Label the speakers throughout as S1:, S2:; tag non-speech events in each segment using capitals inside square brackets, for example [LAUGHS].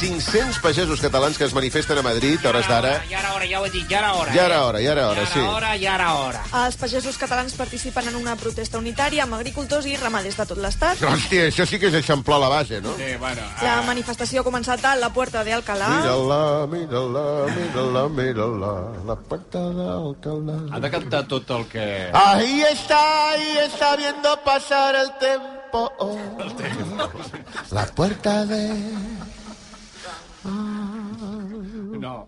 S1: 500 pagesos catalans que es manifesten a Madrid a hores d'ara.
S2: Ja era hora, ja ho he dit, ja era hora. eh?
S1: Ja era hora, ja era hora, sí.
S2: Ja era hora, ja era hora.
S3: Els pagesos catalans participen en una protesta unitària amb agricultors i ramaders de tot l'estat.
S1: Hòstia, això sí que és eixamplar la base, no? Ah.
S2: Sí, Ah. bueno,
S3: La manifestació ha començat a la Puerta de Alcalá.
S1: Mira-la, mira-la, mira-la, mira-la, la pata d'alcalà.
S4: Ha de cantar tot el que...
S1: Ahí está, ahí está viendo pasar el tiempo. Oh. La puerta de...
S4: No.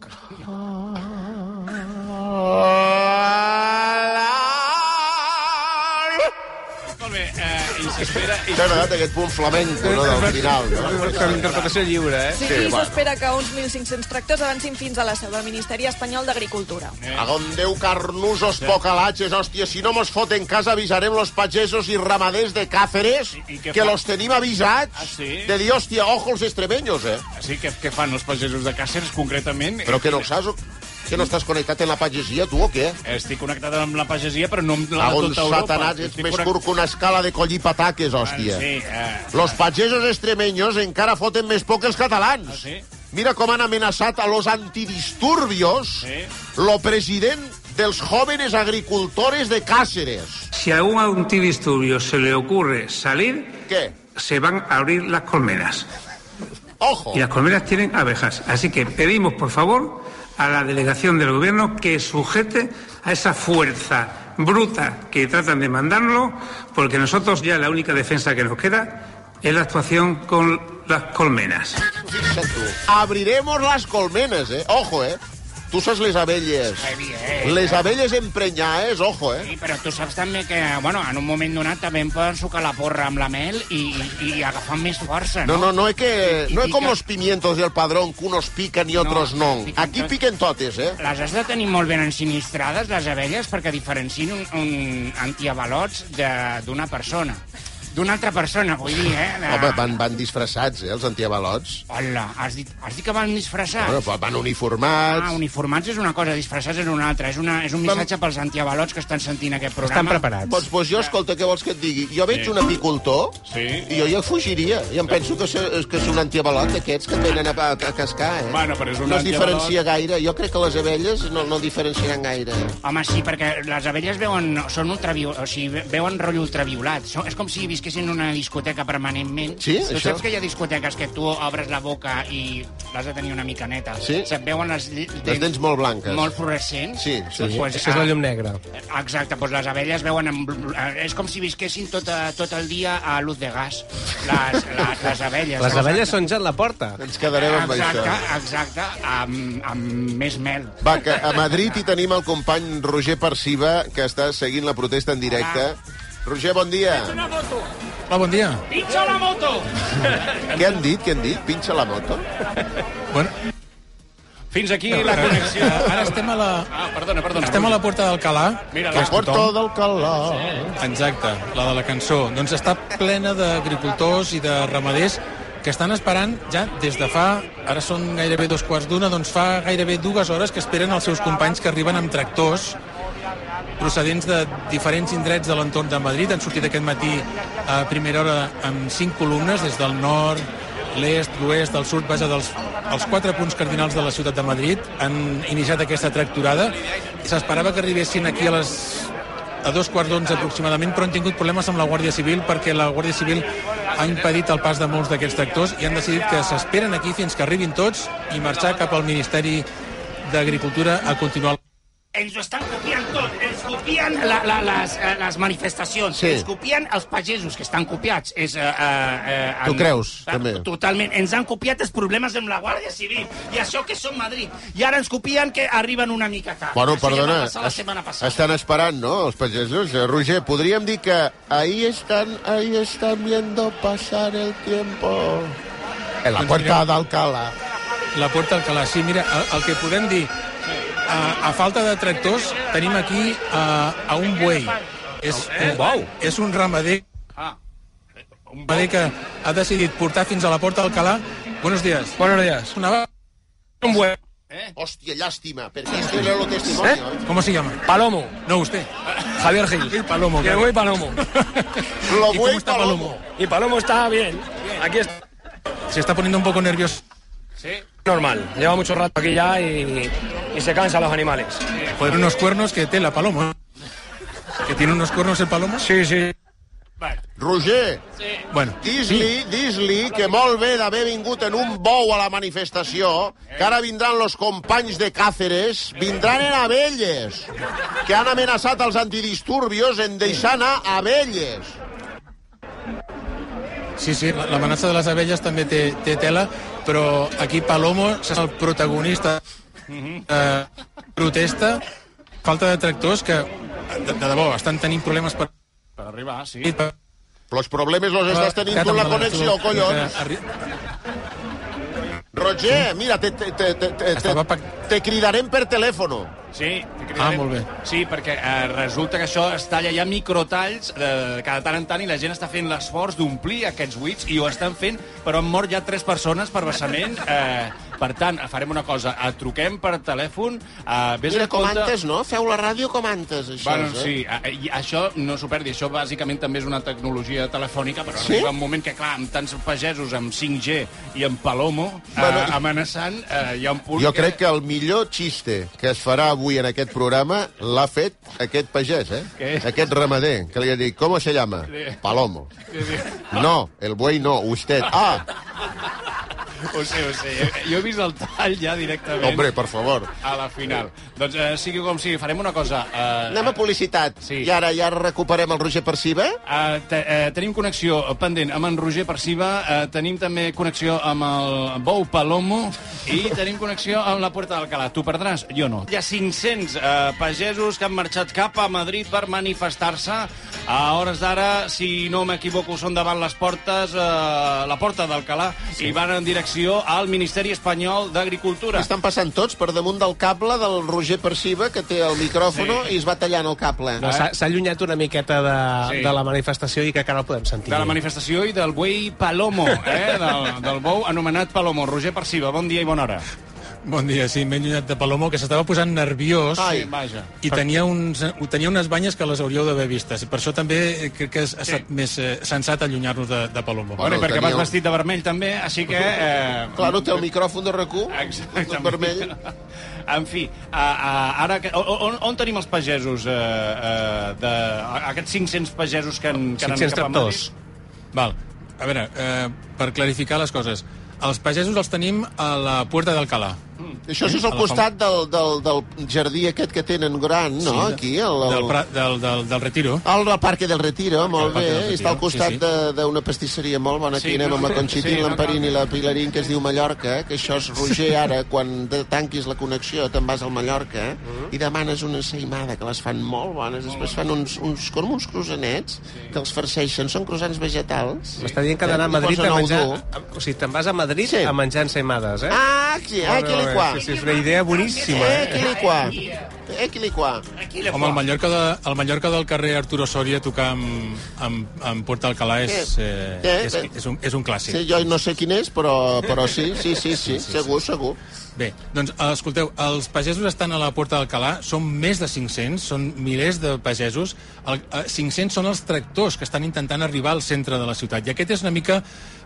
S4: Molt bé, eh, i s'espera... i-
S1: T'ha agradat aquest punt flamenco, no?, del final, no?
S5: Amb interpretació lliure, eh?
S3: Sí,
S1: Sí,
S3: i
S1: bueno.
S3: s'espera que uns 1.500 tractors avancin fins a la seu del Ministeri Espanyol d'Agricultura.
S1: Agondeu carnusos pocalaches, hòstia, si no mos foten casa avisarem los pagesos i ramaders de Cáceres
S4: I- i què
S1: que
S4: fa?
S1: los tenim avisats
S4: Ah, sí?
S1: de dir, hòstia, ojo els extremeños, eh?
S4: Sí, què, què fan els pagesos de Càceres, concretament?
S1: Però que no saps... Que no estàs connectat en la pagesia, tu, o què?
S4: Estic connectat amb la pagesia, però no amb la
S1: A
S4: de
S1: on
S4: tota Europa.
S1: satanàs ets
S4: Estic
S1: més
S4: connect-
S1: curt que una escala de collir pataques, hòstia.
S4: Bueno, sí, eh,
S1: Los pagesos extremeños encara foten més poc que els catalans.
S4: Ah, sí?
S1: Mira com han amenaçat a los antidisturbios
S4: Sí.
S1: lo president dels jóvenes agricultores de Cáceres.
S6: Si a un antidisturbio se le ocurre salir,
S1: Què?
S6: se van a abrir las colmenas.
S1: Ojo.
S6: Y las colmenas tienen abejas. Así que pedimos, por favor, a la delegación del gobierno que sujete a esa fuerza bruta que tratan de mandarlo, porque nosotros ya la única defensa que nos queda es la actuación con las colmenas.
S1: Fixa't tu. Abriremos las colmenes, eh? Ojo, eh? Tu saps les abelles.
S2: Evident.
S1: Les abelles emprenyades, ojo, eh?
S2: eh? Sí, però tu saps també que, bueno, en un moment donat també em poden sucar la porra amb la mel i, i, i agafar més força,
S1: No,
S2: no?
S1: no, no es que...
S2: I- i
S1: No es como
S2: pica-
S1: los pimientos del padrón, que unos pican y otros no.
S2: piquen
S1: Aquí
S2: tot.
S1: piquen totes, eh?
S2: Les has de tenir molt ben ensinistrades, les abelles, perquè diferenciïn un, un antiavalots de- d'una persona. D'una altra persona, vull dir, eh? De...
S1: Home, van, van disfressats, eh, els antiavalots.
S2: Hola, has dit, has dit que van disfressats?
S1: Bueno, però van uniformats...
S2: Ah, uniformats és una cosa, disfressats és una altra. És, una, és un missatge pels antiavalots que estan sentint aquest programa.
S5: Estan preparats.
S1: Doncs, doncs jo, escolta, què vols que et digui? Jo veig un apicultor
S4: Sí.
S1: i jo ja fugiria. I em penso que, se, que és un antiavalot d'aquests que venen a, a, a cascar, eh?
S4: Bueno, però és un
S1: no es
S4: antiavalot.
S1: diferencia gaire. Jo crec que les abelles no, no diferencien gaire.
S2: Home, sí, perquè les abelles veuen, són ultravio... o sigui, ve- veuen rotllo ultraviolat. Són- És com si visquessin en una discoteca permanentment.
S1: Sí,
S2: tu
S1: això.
S2: saps que hi ha discoteques que tu obres la boca i l'has de tenir una mica neta.
S1: Sí.
S2: Se't veuen les, lli- dents,
S1: Les dents molt blanques.
S2: Molt fluorescents. Doncs,
S1: Sí, sí.
S2: Pues,
S5: Això és la llum negra.
S2: ah, Exacte, doncs les abelles veuen... Amb... eh, És com si visquessin tot, eh, tot el dia a luz de gas. Les, les, les abelles.
S5: Les abelles són ja a la porta.
S1: Ens quedarem amb
S2: Exacte,
S1: això.
S2: exacte, amb, amb més mel.
S1: Va, que a Madrid hi tenim el company Roger Perciba, que està seguint la protesta en directe. Roger, bon dia.
S7: Hola, Ah, bon dia.
S2: Pincha la moto!
S1: Què han dit? Què han dit? Pinxa la moto?
S7: Bueno,
S4: Fins aquí la connexió.
S7: ara estem a la,
S4: Ah, perdona, perdona.
S7: estem a la Puerta d'Alcalà.
S4: Mira,
S1: Que
S4: la...
S1: porto del calor.
S7: Exacte, la de la cançó. Doncs està plena d'agricultors i de ramaders que estan esperant ja des de fa... Ara són gairebé dos quarts d'una, doncs fa gairebé dues hores que esperen els seus companys que arriben amb tractors procedents de diferents indrets de l'entorn de Madrid. Han sortit aquest matí a primera hora amb cinc columnes, des del nord, l'est, l'oest, el sud, vaja, dels els quatre punts cardinals de la ciutat de Madrid han iniciat aquesta tracturada. S'esperava que arribessin aquí a les a dos quarts d'onze aproximadament, però han tingut problemes amb la Guàrdia Civil perquè la Guàrdia Civil ha impedit el pas de molts d'aquests tractors i han decidit que s'esperen aquí fins que arribin tots i marxar cap al Ministeri d'Agricultura a continuar
S2: Ens ho estan copiant tot. Ens copien la, la, les, eh, les manifestacions.
S1: Sí.
S2: Ens copien els pagesos, que estan copiats. És, eh, eh, eh,
S1: Tu creus,
S2: eh,
S1: també?
S2: Totalment. Ens han copiat els problemes amb la Guàrdia Civil. I això que som Madrid. I ara ens copien que arriben una mica tard.
S1: Bueno,
S2: Això ja
S1: perdona,
S2: va passar la
S1: es-
S2: setmana passada.
S1: estan esperant, no, els pagesos? Eh, Roger, podríem dir que ahí están, ahí están viendo pasar el tiempo. En la puerta d'Alcalá.
S7: La Puerta Alcalá, sí, mira, el, el que podem dir, a, a falta de tractors, tenim aquí a, a un buei. És, un bou? És un ramader,
S5: Ah.
S7: un ramader que ha decidit portar fins a la Puerta Alcalá. Buenos días.
S5: Buenos días.
S7: Una va...
S5: Un buen.
S1: Hòstia, llàstima, perquè este era el testimoni,
S5: Eh?
S1: eh?
S7: ¿Cómo se llama?
S5: Palomo.
S7: No, usted.
S5: Javier Gil.
S7: El Palomo.
S5: Que
S7: claro.
S5: voy
S7: [LAUGHS]
S5: Palomo.
S1: Lo
S7: ¿Y
S1: voy
S7: cómo está Palomo?
S5: Y Palomo está bien. Aquí está.
S7: Se está poniendo un poco nervioso.
S5: Normal, lleva mucho rato aquí ya y, y se cansan los animales.
S7: Joder, unos cuernos que té la paloma. Que tiene unos cuernos el paloma.
S5: Sí, sí.
S1: Roger,
S7: Bueno,
S1: dis-li dis que molt bé d'haver vingut en un bou a la manifestació, que ara vindran los companys de Càceres, vindran en abelles, que han amenaçat els antidisturbios en deixar anar abelles.
S7: sí, sí, la- l'amenaça de les abelles també té, té tela, però aquí Palomo és el protagonista eh, protesta, falta de tractors que, de, de debò, estan tenint problemes per...
S4: Per arribar, sí.
S7: per
S1: Los problemes los estàs tenint tu en la connexió, collons.
S7: Eh,
S1: Roger, mira, te, te, te, te, te,
S7: Estava
S1: te,
S7: pac-
S1: te cridarem per telèfon.
S4: Sí, t'he
S7: Ah,
S4: cridat.
S7: molt bé.
S4: Sí, perquè eh, resulta que això es talla, hi ha microtalls de cada tant en tant i la gent està fent l'esforç d'omplir aquests buits i ho estan fent, però han mort ja tres persones per vessament.
S7: [LAUGHS]
S4: Eh, per tant, farem una cosa, et truquem per telèfon, eh, vés
S1: Mira,
S4: amb
S1: com
S4: compte-
S1: antes, no? Feu la ràdio com antes, això.
S4: Bueno,
S1: eh?
S4: sí, a- i això no s'ho perdi, això bàsicament també és una tecnologia telefònica, però
S1: Sí?
S4: sí? arriba un moment que, clar, amb tants pagesos, amb 5G i amb Palomo
S1: Bueno,
S4: bueno, eh, amenaçant, eh, hi ha un punt
S1: Jo crec que el millor xiste que es farà avui en aquest programa l'ha fet aquest pagès, eh?
S4: Què?
S1: Aquest ramader, que li ha dit, com se llama? Palomo. No, el buey no, usted. Ah,
S4: Ho sé, ho sé. Jo he vist el tall ja directament
S1: hombre, por favor.
S4: a la final. Doncs eh, sigui com sigui, farem una cosa. Eh,
S1: Anem a publicitat.
S4: Sí.
S1: I ara ja recuperem el Roger Perciba?
S4: Eh, te, eh, tenim connexió pendent amb en Roger Perciba, eh, tenim també connexió amb el Bou Palomo i tenim connexió amb la Puerta d'Alcalà. Tu perdràs? Jo no. Hi ha 500 eh, pagesos que han marxat cap a Madrid per manifestar-se. A hores d'ara, si no m'equivoco, són davant les portes, eh, la Porta d'Alcalà, sí. i van en direcció al Ministeri Espanyol d'Agricultura.
S1: Estan passant tots per damunt del cable del Roger Perciba, que té el micròfon sí. i es va tallant el cable. Eh?
S5: No, S'ha s'ha allunyat una miqueta de,
S4: Sí.
S5: sí. de la manifestació i crec que ara el podem sentir.
S4: De la manifestació i del buei Palomo, eh? del, del bou anomenat Palomo. Roger Perciba, bon dia i bona hora.
S7: Bon dia, sí, m'he allunyat de Palomo, que s'estava posant nerviós
S1: Ai.
S4: Sí, vaja.
S7: i tenia, uns, tenia unes banyes que les hauríeu d'haver vistes. Per això també eh, crec que ha estat més eh, sensat allunyar-nos de, de Palomo.
S1: Bueno,
S4: Bueno, i perquè
S1: tenia
S4: vas
S1: un-
S4: vestit de vermell també, així que... Eh...
S1: Claro, té el micròfon de recu,
S4: Exactament.
S1: vermell.
S4: En fi, a, a, ara que, o- on, on tenim els pagesos? Eh, eh, de, a- aquests 500 pagesos que han, que han
S5: 500 tractors.
S7: Val. A veure, eh, per clarificar les coses, els pagesos els tenim a la Puerta d'Alcalà.
S1: Això és al costat del, del, del jardí aquest que tenen gran, no?
S7: de-
S1: Aquí, el,
S7: Del,
S1: el,
S7: pra- del, del, del Retiro.
S1: Al del Parque del Retiro, molt
S7: Parque
S1: bé. eh?
S7: del Retiro,
S1: Està al costat
S7: sí, sí.
S1: de- d'una pastisseria molt bona. Aquí
S4: Sí,
S1: anem
S4: no,
S1: amb la Conchitín,
S4: sí, no
S1: l'Emparín
S4: cal.
S1: i la Pilarín, que es diu Mallorca, eh? que això és Roger, ara, quan de- tanquis la connexió, te'n vas al Mallorca eh? i demanes una seimada, que les fan molt bones. Després fan uns, uns com uns cruzanets, que els farceixen. Són croissants vegetals.
S5: M'està dient que ha d'anar a
S1: Li
S5: Madrid
S1: posen
S5: a menjar...
S1: ou dur.
S5: O sigui, te'n vas a Madrid
S1: Sí.
S5: a menjar ensaïmades, eh?
S1: Ah, sí, ah, que li qua.
S5: Sí, sí, és una idea boníssima.
S1: Eh, que
S5: Eh?
S1: li qua. Eh, que li qua.
S7: Home, el Mallorca, de, el Mallorca del carrer Arturo Soria tocar amb, amb, amb Puerta Alcalà és,
S1: Sí.
S7: eh,
S1: Sí,
S7: és,
S1: sí.
S7: és, un, és un clàssic.
S1: Sí, jo no sé quin és, però, però sí, sí, sí, sí, segur, segur.
S7: Bé, doncs, escolteu, els pagesos estan a la Porta d'Alcalà, són més de 500, són milers de pagesos. El, eh, 500 són els tractors que estan intentant arribar al centre de la ciutat. I aquest és una mica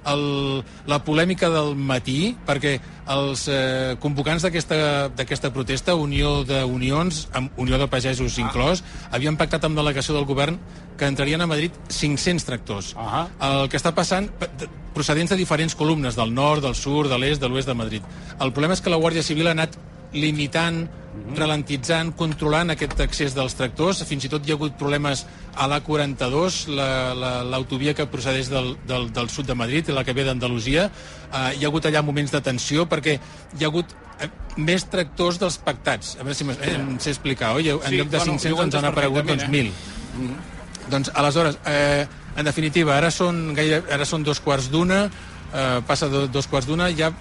S7: el, la polèmica del matí, perquè els eh, convocants d'aquesta d'aquesta protesta, Unió d'Unions, amb Unió de Pagesos inclòs, havien pactat amb delegació del govern que entrarien a Madrid 500 tractors.
S4: Ahà.
S7: El que està passant, p- de- procedents de diferents columnes, del nord, del sud, de l'est, de l'oest de Madrid. El problema és que la Guàrdia Civil ha anat limitant,
S4: Mhm.
S7: ralentitzant, controlant aquest accés dels tractors. Fins i tot hi ha hagut problemes a l'A42, la- la- l'autovia que procedeix del, del, del sud de Madrid, la que ve d'Andalusia. Uh, hi ha hagut allà moments de tensió perquè hi ha hagut eh, més tractors dels pactats. A veure si m'es- eh, em sé explicar, oi? En
S4: Sí,
S7: lloc de
S4: bueno,
S7: 500
S4: ho
S7: ens han
S4: entes
S7: aparegut doncs,
S4: perfectament,
S7: 1.000. Doncs, aleshores, eh, en definitiva, ara són, gaire, ara són dos quarts d'una, eh, passa de dos quarts d'una, ja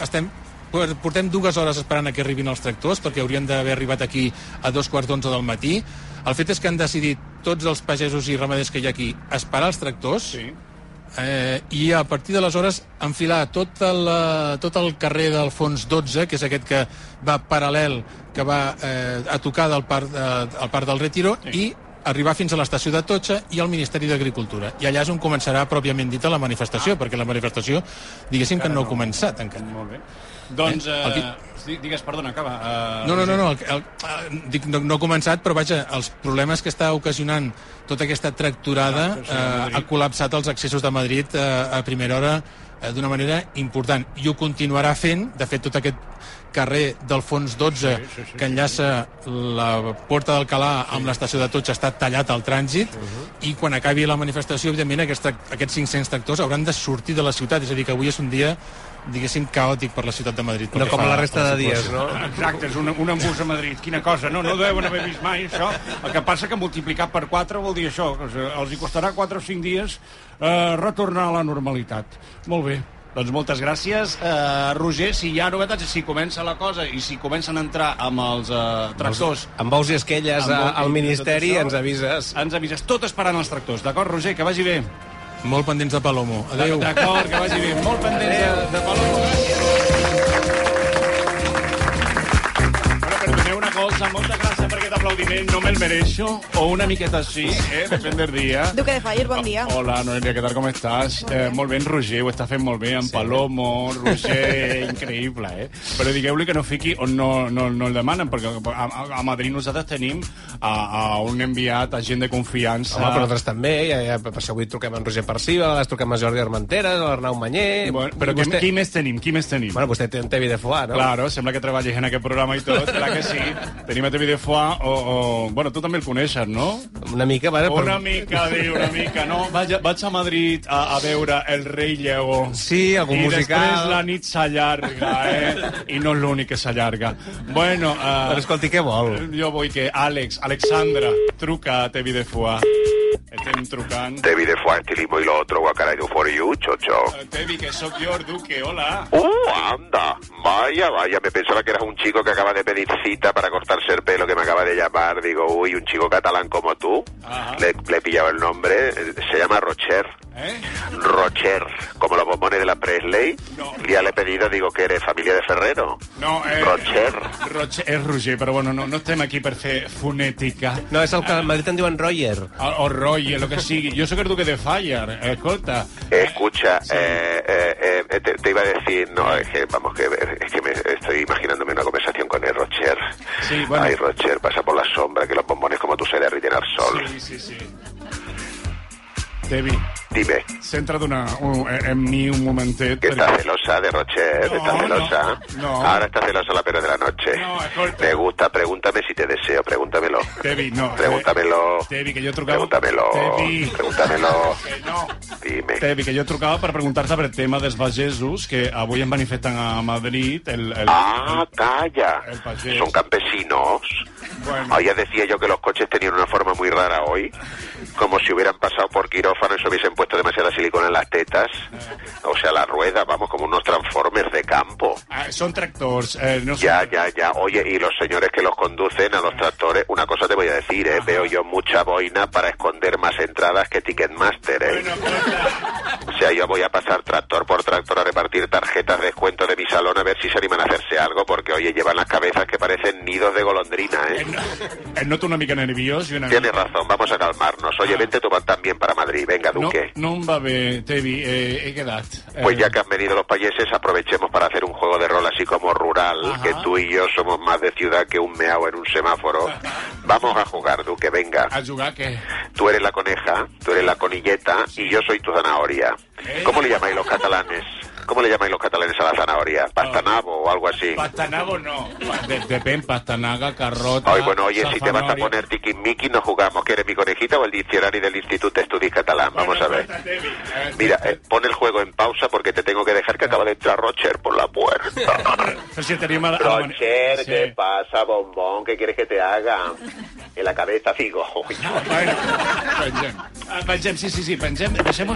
S7: estem por- portem dues hores esperant a que arribin els tractors perquè haurien d'haver arribat aquí a dos quarts d'onze del matí. El fet és que han decidit tots els pagesos i ramaders que hi ha aquí esperar els tractors sí. eh, i a partir d'aleshores enfilar tot el, eh, tot el carrer del fons 12, que és aquest que va paral·lel, que va eh, a tocar del parc, eh, al parc del Retiro sí. i arribar fins a l'estació de Totxa i al Ministeri d'Agricultura. I allà és on començarà pròpiament dita la manifestació, perquè la manifestació, diguéssim que Ah. no ha començat encara.
S4: Molt bé. Doncs,
S7: Eh, el
S4: eh,
S7: qui-
S4: sí, digues, perdona, acaba. Eh,
S7: No, no, no, no, el, el, eh, dic, no, no ha començat, però vaja, els problemes que està ocasionant tota aquesta tracturada eh, ha col·lapsat els accessos de Madrid eh, a primera hora eh, d'una manera important. I ho continuarà fent, de fet, tot aquest carrer del fons 12 sí, sí, sí, que enllaça la Porta d'Alcalà amb l'estació de Tots està tallat al trànsit uh -huh. i quan acabi la manifestació, evidentment, aquest, aquests 500 tractors hauran de sortir de la ciutat, és a dir, que avui és un dia diguéssim caòtic per la ciutat de Madrid. pel
S8: No
S7: que
S8: com
S7: fa
S8: la
S7: a
S8: resta de
S7: circulació.
S8: dies, no?
S4: Exacte, és un, un embús a Madrid. Quina cosa, no? No deuen haver vist mai això. El que passa que multiplicar per 4 vol dir això, que els- els hi costarà 4 o 5 dies eh, retornar a la normalitat. Molt bé. Doncs moltes gràcies. Eh, Roger, si hi ha novetats, si comença la cosa i si comencen a entrar amb els eh, tractors,
S8: Amb ous i esquelles
S4: Amb
S8: a-
S4: ous i
S8: al Ministeri
S4: tot això.
S8: ens avises.
S4: ens avises. Tot esperant els tractors, d'acord, Roger? Que vagi bé.
S7: Molt pendents de Palomo. Adéu.
S4: D'acord, que vagi bé. Molt pendents de, de Paloma. Bueno, perdoneu una cosa, molta gràcia per aquest aplaudiment, no me'l mereixo, o una miqueta sí, eh, depèn del dia.
S3: Duque de Fayer, bon dia.
S4: Hola, Noelia, què tal, com estàs? Molt bé, eh, molt ben, Roger, ho està fent molt bé, en Palomo,
S8: [LAUGHS]
S4: Roger, increïble, eh? Però digueu-li que no fiqui on no, no, no el demanen, perquè a, a, a Madrid nosaltres tenim a, a un enviat, a gent de confiança...
S8: Home, però nosaltres també, ja, ja, per això avui truquem a en Roger Perciba, a vegades truquem a Jordi Armenteres, a l'Arnau Mañé...
S4: Bueno, però
S8: vostè...
S4: qui, qui més tenim? Qui més tenim?
S8: Bueno, vostè té un Tevi de Foà, no?
S4: Claro, sembla que treballis en aquest programa i tot, clar que
S8: [LAUGHS]
S4: sí. Tenim a Tevi de Foix, o, o... Bueno, tu també el coneixes, no?
S8: Una mica, vale,
S4: Una mica, diu, una mica. No, vaig, vaig a Madrid a, a veure El rei Lleó.
S8: Sí, algun
S4: I després
S8: musical...
S4: la nit s'allarga, eh? I no és l'únic que s'allarga. Bueno,
S8: Però
S4: eh,
S8: escolti, què vol?
S4: jo vull que Àlex, Alexandra, truca a Tevi de Foix. Estem trucant.
S9: Debbie de Fuente, Limo y lo otro, what can I do for you, chocho?
S4: Eh, Tevi, que sóc jo, el Duque, hola.
S9: ¡Uh, anda! Vaya, vaya, me pensaba que eras un chico que acaba de pedir cita para cortarse el pelo que me acaba de llamar. Digo, uy, un chico catalán como tú.
S4: Ajá.
S9: Le, le he pillado el nombre. Eh, Se llama Rocher.
S4: Eh?
S9: Rocher, como los bombones de la Presley.
S4: No.
S9: Ya le he pedido, digo, que eres familia de Ferrero.
S4: No, eh...
S9: Rocher.
S4: Rocher, és Roger, però bueno, no, no estem aquí per fer fonètica.
S8: No, és el que a Madrid en diuen Roger.
S4: Ah, O, o Roger, lo que sigui. Jo sóc el duque de Fire, escolta.
S9: Escucha, eh, eh, eh, te, te iba a decir, no, es que, vamos, que es que me estoy imaginándome una conversación con el Rocher.
S4: Sí, bueno.
S9: Ay, Rocher, pasa por la sombra, que los bombones como tú se derriten al sol.
S4: Sí, sí, sí. Debbie,
S9: Dime,
S4: centra d'una... un- en mi un momentet.
S9: que estás
S4: perquè-
S9: celosa de Rocher,
S4: No,
S9: estás celosa.
S4: no, no.
S9: Ahora estás celosa a la pena de la noche.
S4: No, escolta.
S9: Me gusta, pregúntame si te deseo, pregúntamelo.
S4: Debbie, no. eh,
S9: Pregúntamelo.
S4: Debbie, que jo trucava...
S9: Pregúntamelo.
S4: Debbie,
S9: Pregúntamelo.
S4: [LAUGHS] que no.
S9: Dime.
S4: Debbie, que jo trucava per preguntar-te per el tema dels vallesos, que avui em manifesten a Madrid el... el...
S9: Ah, calla.
S4: El pagés.
S9: Son campesinos.
S4: Bueno.
S9: Ah, ya decía yo que los coches tenían una forma muy rara hoy, como si hubieran pasado por quirófano y se hubiesen puesto demasiada silicona en las tetas,
S4: Eh.
S9: o sea, las ruedas, vamos, como unos transformers de campo.
S4: Ah, són tractors, eh, no sé...
S9: Ya, ya, ya. Oye, y los señores que los conducen a los tractores, una cosa te voy a decir, ¿eh? veo yo mucha boina para esconder más entradas que Ticketmaster. ¿eh?
S4: Bueno, escolta,
S9: O sea, yo voy a pasar tractor por tractor a repartir tarjetas de descuento de mi salón a ver si se animan a hacerse algo, porque oye, llevan las cabezas que parecen nidos de golondrina,
S4: eh,
S9: ¿eh?
S4: no, eh, noto una mica nerviós i una mica...
S9: Tienes razón, vamos a calmarnos. Oye, vente tú también para Madrid, venga,
S4: Ah. No,
S9: Duque.
S4: no em va bé, Tevi, eh, he quedat. Eh,
S9: Pues ya que han venido los payeses, aprovechemos para hacer un juego de rol así como rural,
S4: Ajá.
S9: que tú y yo somos más de ciudad que un meao en un semáforo.
S4: [LAUGHS]
S9: Vamos a jugar, Duque, venga.
S4: A jugar, què?
S9: Tú eres la coneja, tú eres la conilleta y yo soy tu zanahoria.
S4: Eh.
S9: ¿Cómo le llamáis los catalanes? ¿Cómo le llamáis los catalanes a la zanahoria?
S4: Ah.
S9: ¿Pastanabo o algo así?
S4: Pastanago no. De, depèn, pastanaga, carrota...
S9: Ay, bueno, oye, si te vas a
S4: safanòria.
S9: poner tiquismiqui, no jugamos. ¿Quieres mi conejita o el diccionario del Instituto de Estudios Catalán?
S4: Bueno,
S9: Vamos a ver.
S4: escolta, Tevi, eh,
S9: Mira, eh, pon el juego en pausa porque te tengo que dejar que acaba de entrar Rocher por
S4: [LAUGHS]
S9: la puerta.
S4: Però si tenim a, a la mani-
S9: Rocher,
S4: Sí.
S9: ¿qué pasa, bombón? ¿Qué quieres que te haga? En la cabeza, figo.
S4: Bueno, pengem. Ah, Pengem, sí, sí, sí, pengem. Deixem